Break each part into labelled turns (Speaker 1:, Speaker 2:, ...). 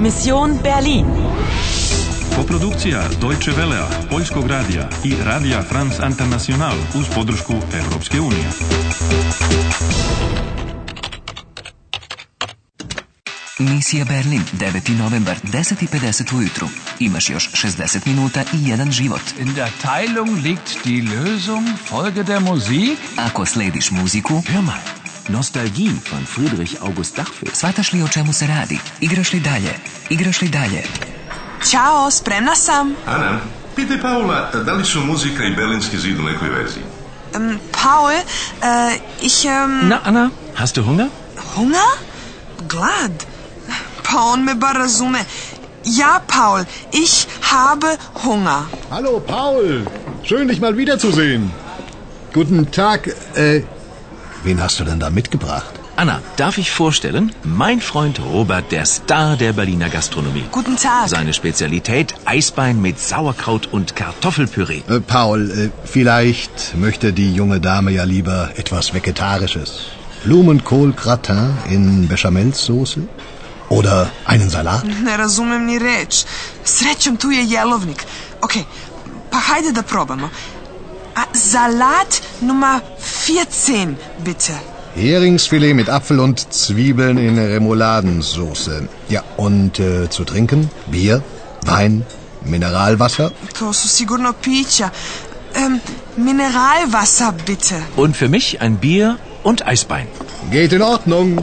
Speaker 1: Mission Berlin.
Speaker 2: Koprodukcija Deutsche Velea, Poljskog radija i Radija France International uz podršku Europske unije.
Speaker 3: Misija Berlin, 9. novembar, 10.50 ujutru. Imaš još 60 minuta i jedan život.
Speaker 4: In der Teilung liegt die Lösung. Folge der Musik.
Speaker 3: Ako slediš muziku,
Speaker 5: Hör mal, Nostalgie von Friedrich August Dachfeld.
Speaker 3: shvataš li o čemu se radi, igraš li dalje, igraš li dalje.
Speaker 1: Ćao, spremna sam.
Speaker 6: Ana, pitaj Paula, da li su muzika i Berlinski zid u nekoj vezi?
Speaker 1: Ähm, Paul, äh, ich, ähm,
Speaker 5: Na, Anna, hast du Hunger?
Speaker 1: Hunger? Glad. Pa on me bar razume. Ja, Paul, ich habe Hunger.
Speaker 7: Hallo Paul, schön dich mal wiederzusehen. Guten Tag. Äh, wen hast du denn da mitgebracht?
Speaker 5: Anna, darf ich vorstellen? Mein Freund Robert, der Star der Berliner Gastronomie.
Speaker 1: Guten Tag.
Speaker 5: Seine Spezialität Eisbein mit Sauerkraut und Kartoffelpüree.
Speaker 7: Äh, Paul, äh, vielleicht möchte die junge Dame ja lieber etwas Vegetarisches. Blumenkohl-Gratin in Bechamelsoße oder einen Salat?
Speaker 1: Ne razumem ni reč. Srećom tu je jelovnik. Ok, pa hajde da probamo. A salat Nummer 14, bitte.
Speaker 7: Heringsfilet mit Apfel und Zwiebeln in Remouladensoße. Ja, und äh, zu trinken? Bier, Wein, Mineralwasser?
Speaker 1: To su sigurno pića. Ähm, Mineralwasser, bitte.
Speaker 5: Und für mich ein Bier und Eisbein.
Speaker 7: Geht in Ordnung.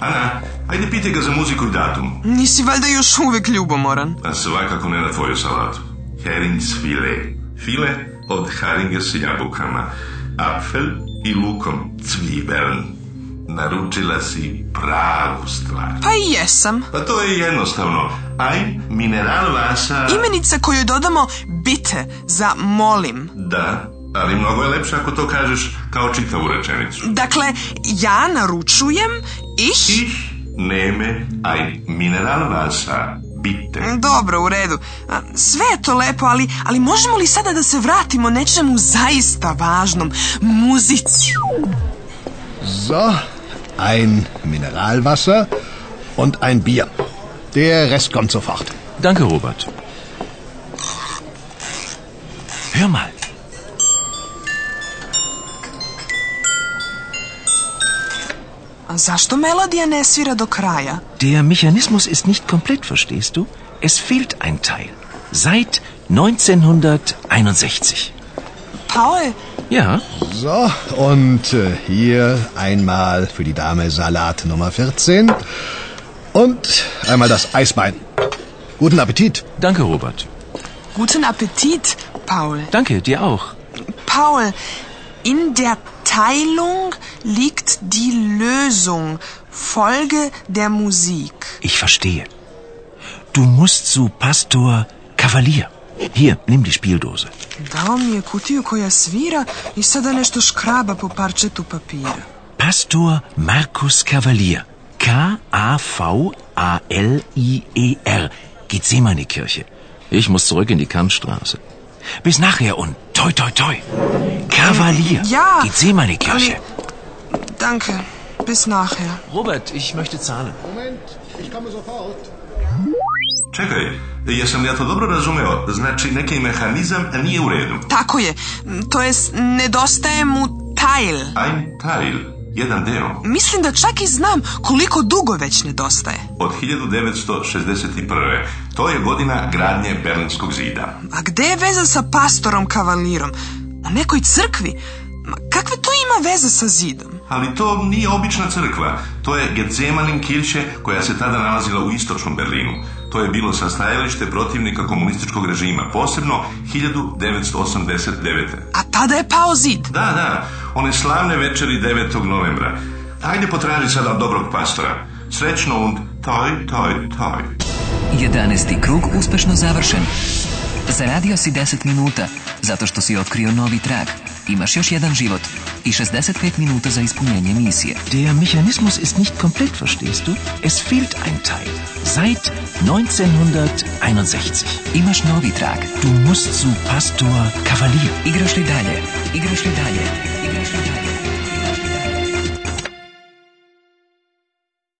Speaker 6: Ana, ajde pitaj ga za muziku i datum.
Speaker 1: Nisi valjda još uvijek ljubomoran.
Speaker 6: A svakako ne na tvoju salatu. Herings file. File od haringa s jabukama. Apfel i lukom cvibeln. Naručila si pravu stvar.
Speaker 1: Pa i jesam.
Speaker 6: Pa to je jednostavno. Aj, mineral vasa...
Speaker 1: Imenica koju dodamo bite za molim.
Speaker 6: Da, ali mnogo je lepše ako to kažeš kao čitavu rečenicu.
Speaker 1: Dakle, ja naručujem ich...
Speaker 6: Ich nehme ein Mineralwasser, bitte.
Speaker 1: Dobro, u redu. A, Sve je to lepo, ali, ali možemo li sada da se vratimo nečemu zaista važnom? Muzici.
Speaker 7: So, ein Mineralwasser und ein Bier. Der Rest kommt sofort.
Speaker 5: Danke, Robert. Hör mal.
Speaker 1: A zašto melodija ne svira do kraja?
Speaker 5: Der Mechanismus ist nicht komplett, verstehst du? Es fehlt ein Teil. Seit 1961.
Speaker 1: Paul,
Speaker 5: Ja,
Speaker 7: So, und äh, hier einmal für die Dame Salat Nummer 14 und einmal das Eisbein. Guten Appetit.
Speaker 5: danke, Robert.
Speaker 1: guten Appetit, Paul.
Speaker 5: Danke, dir auch.
Speaker 1: Paul, in der Teilung liegt die Lösung. Folge der Musik.
Speaker 5: Ich verstehe. Du musst zu Pastor Kavalier. Hier, nimm die Spieldose.
Speaker 1: Dao mi je kutiju koja svira i sada nešto škraba po parčetu papira.
Speaker 5: Pastor Markus Kavalier. K-A-V-A-L-I-E-R. E Gethsemane-Kirche. Ich muss zurück in die Kantstraße. Bis nachher und toi toi toi. Kavalier.
Speaker 1: Ja,
Speaker 5: Gethsemane-Kirche.
Speaker 1: Danke, bis nachher.
Speaker 5: Robert, ich möchte zahlen.
Speaker 7: Moment, ich komme sofort.
Speaker 6: Čekaj, jesam ja to dobro razumeo? Znači, neki mehanizam nije u redu.
Speaker 1: Tako je, to jest nedostaje mu tajl.
Speaker 6: Ein Teil, jedan deo,
Speaker 1: Mislim da čak i znam koliko dugo već nedostaje.
Speaker 6: od 1961. To je godina gradnje Berlinskog zida.
Speaker 1: A gde je veza sa pastorom kavalirom? U nekoj crkvi? Ma kakve to ima veze sa zidom?
Speaker 6: Ali to nije obična crkva, to je Getsemanin kirće koja se tada nalazila u istočnom Berlinu. To je bilo sastajalište protivnika komunističkog režima, posebno 1989.
Speaker 1: A tada je pao zid.
Speaker 6: Da, da, one slavne večeri 9. novembra. Ajde potraži sada od dobrog pastora. Srećno und toj, toj, toj.
Speaker 3: 11. krug uspešno završen. Zaradio si 10 minuta, zato što si otkrio novi trag. Imaš još jedan život i 65 minuta za ispunjenje misije.
Speaker 5: Der Mechanismus ist nicht komplett, verstehst du? Es fehlt ein Teil. Seit 1961.
Speaker 3: Imaš novi trag.
Speaker 5: Du musst zu Pastor Kavalier.
Speaker 3: Igraš li dalje, igraš li dalje, igraš li dalje.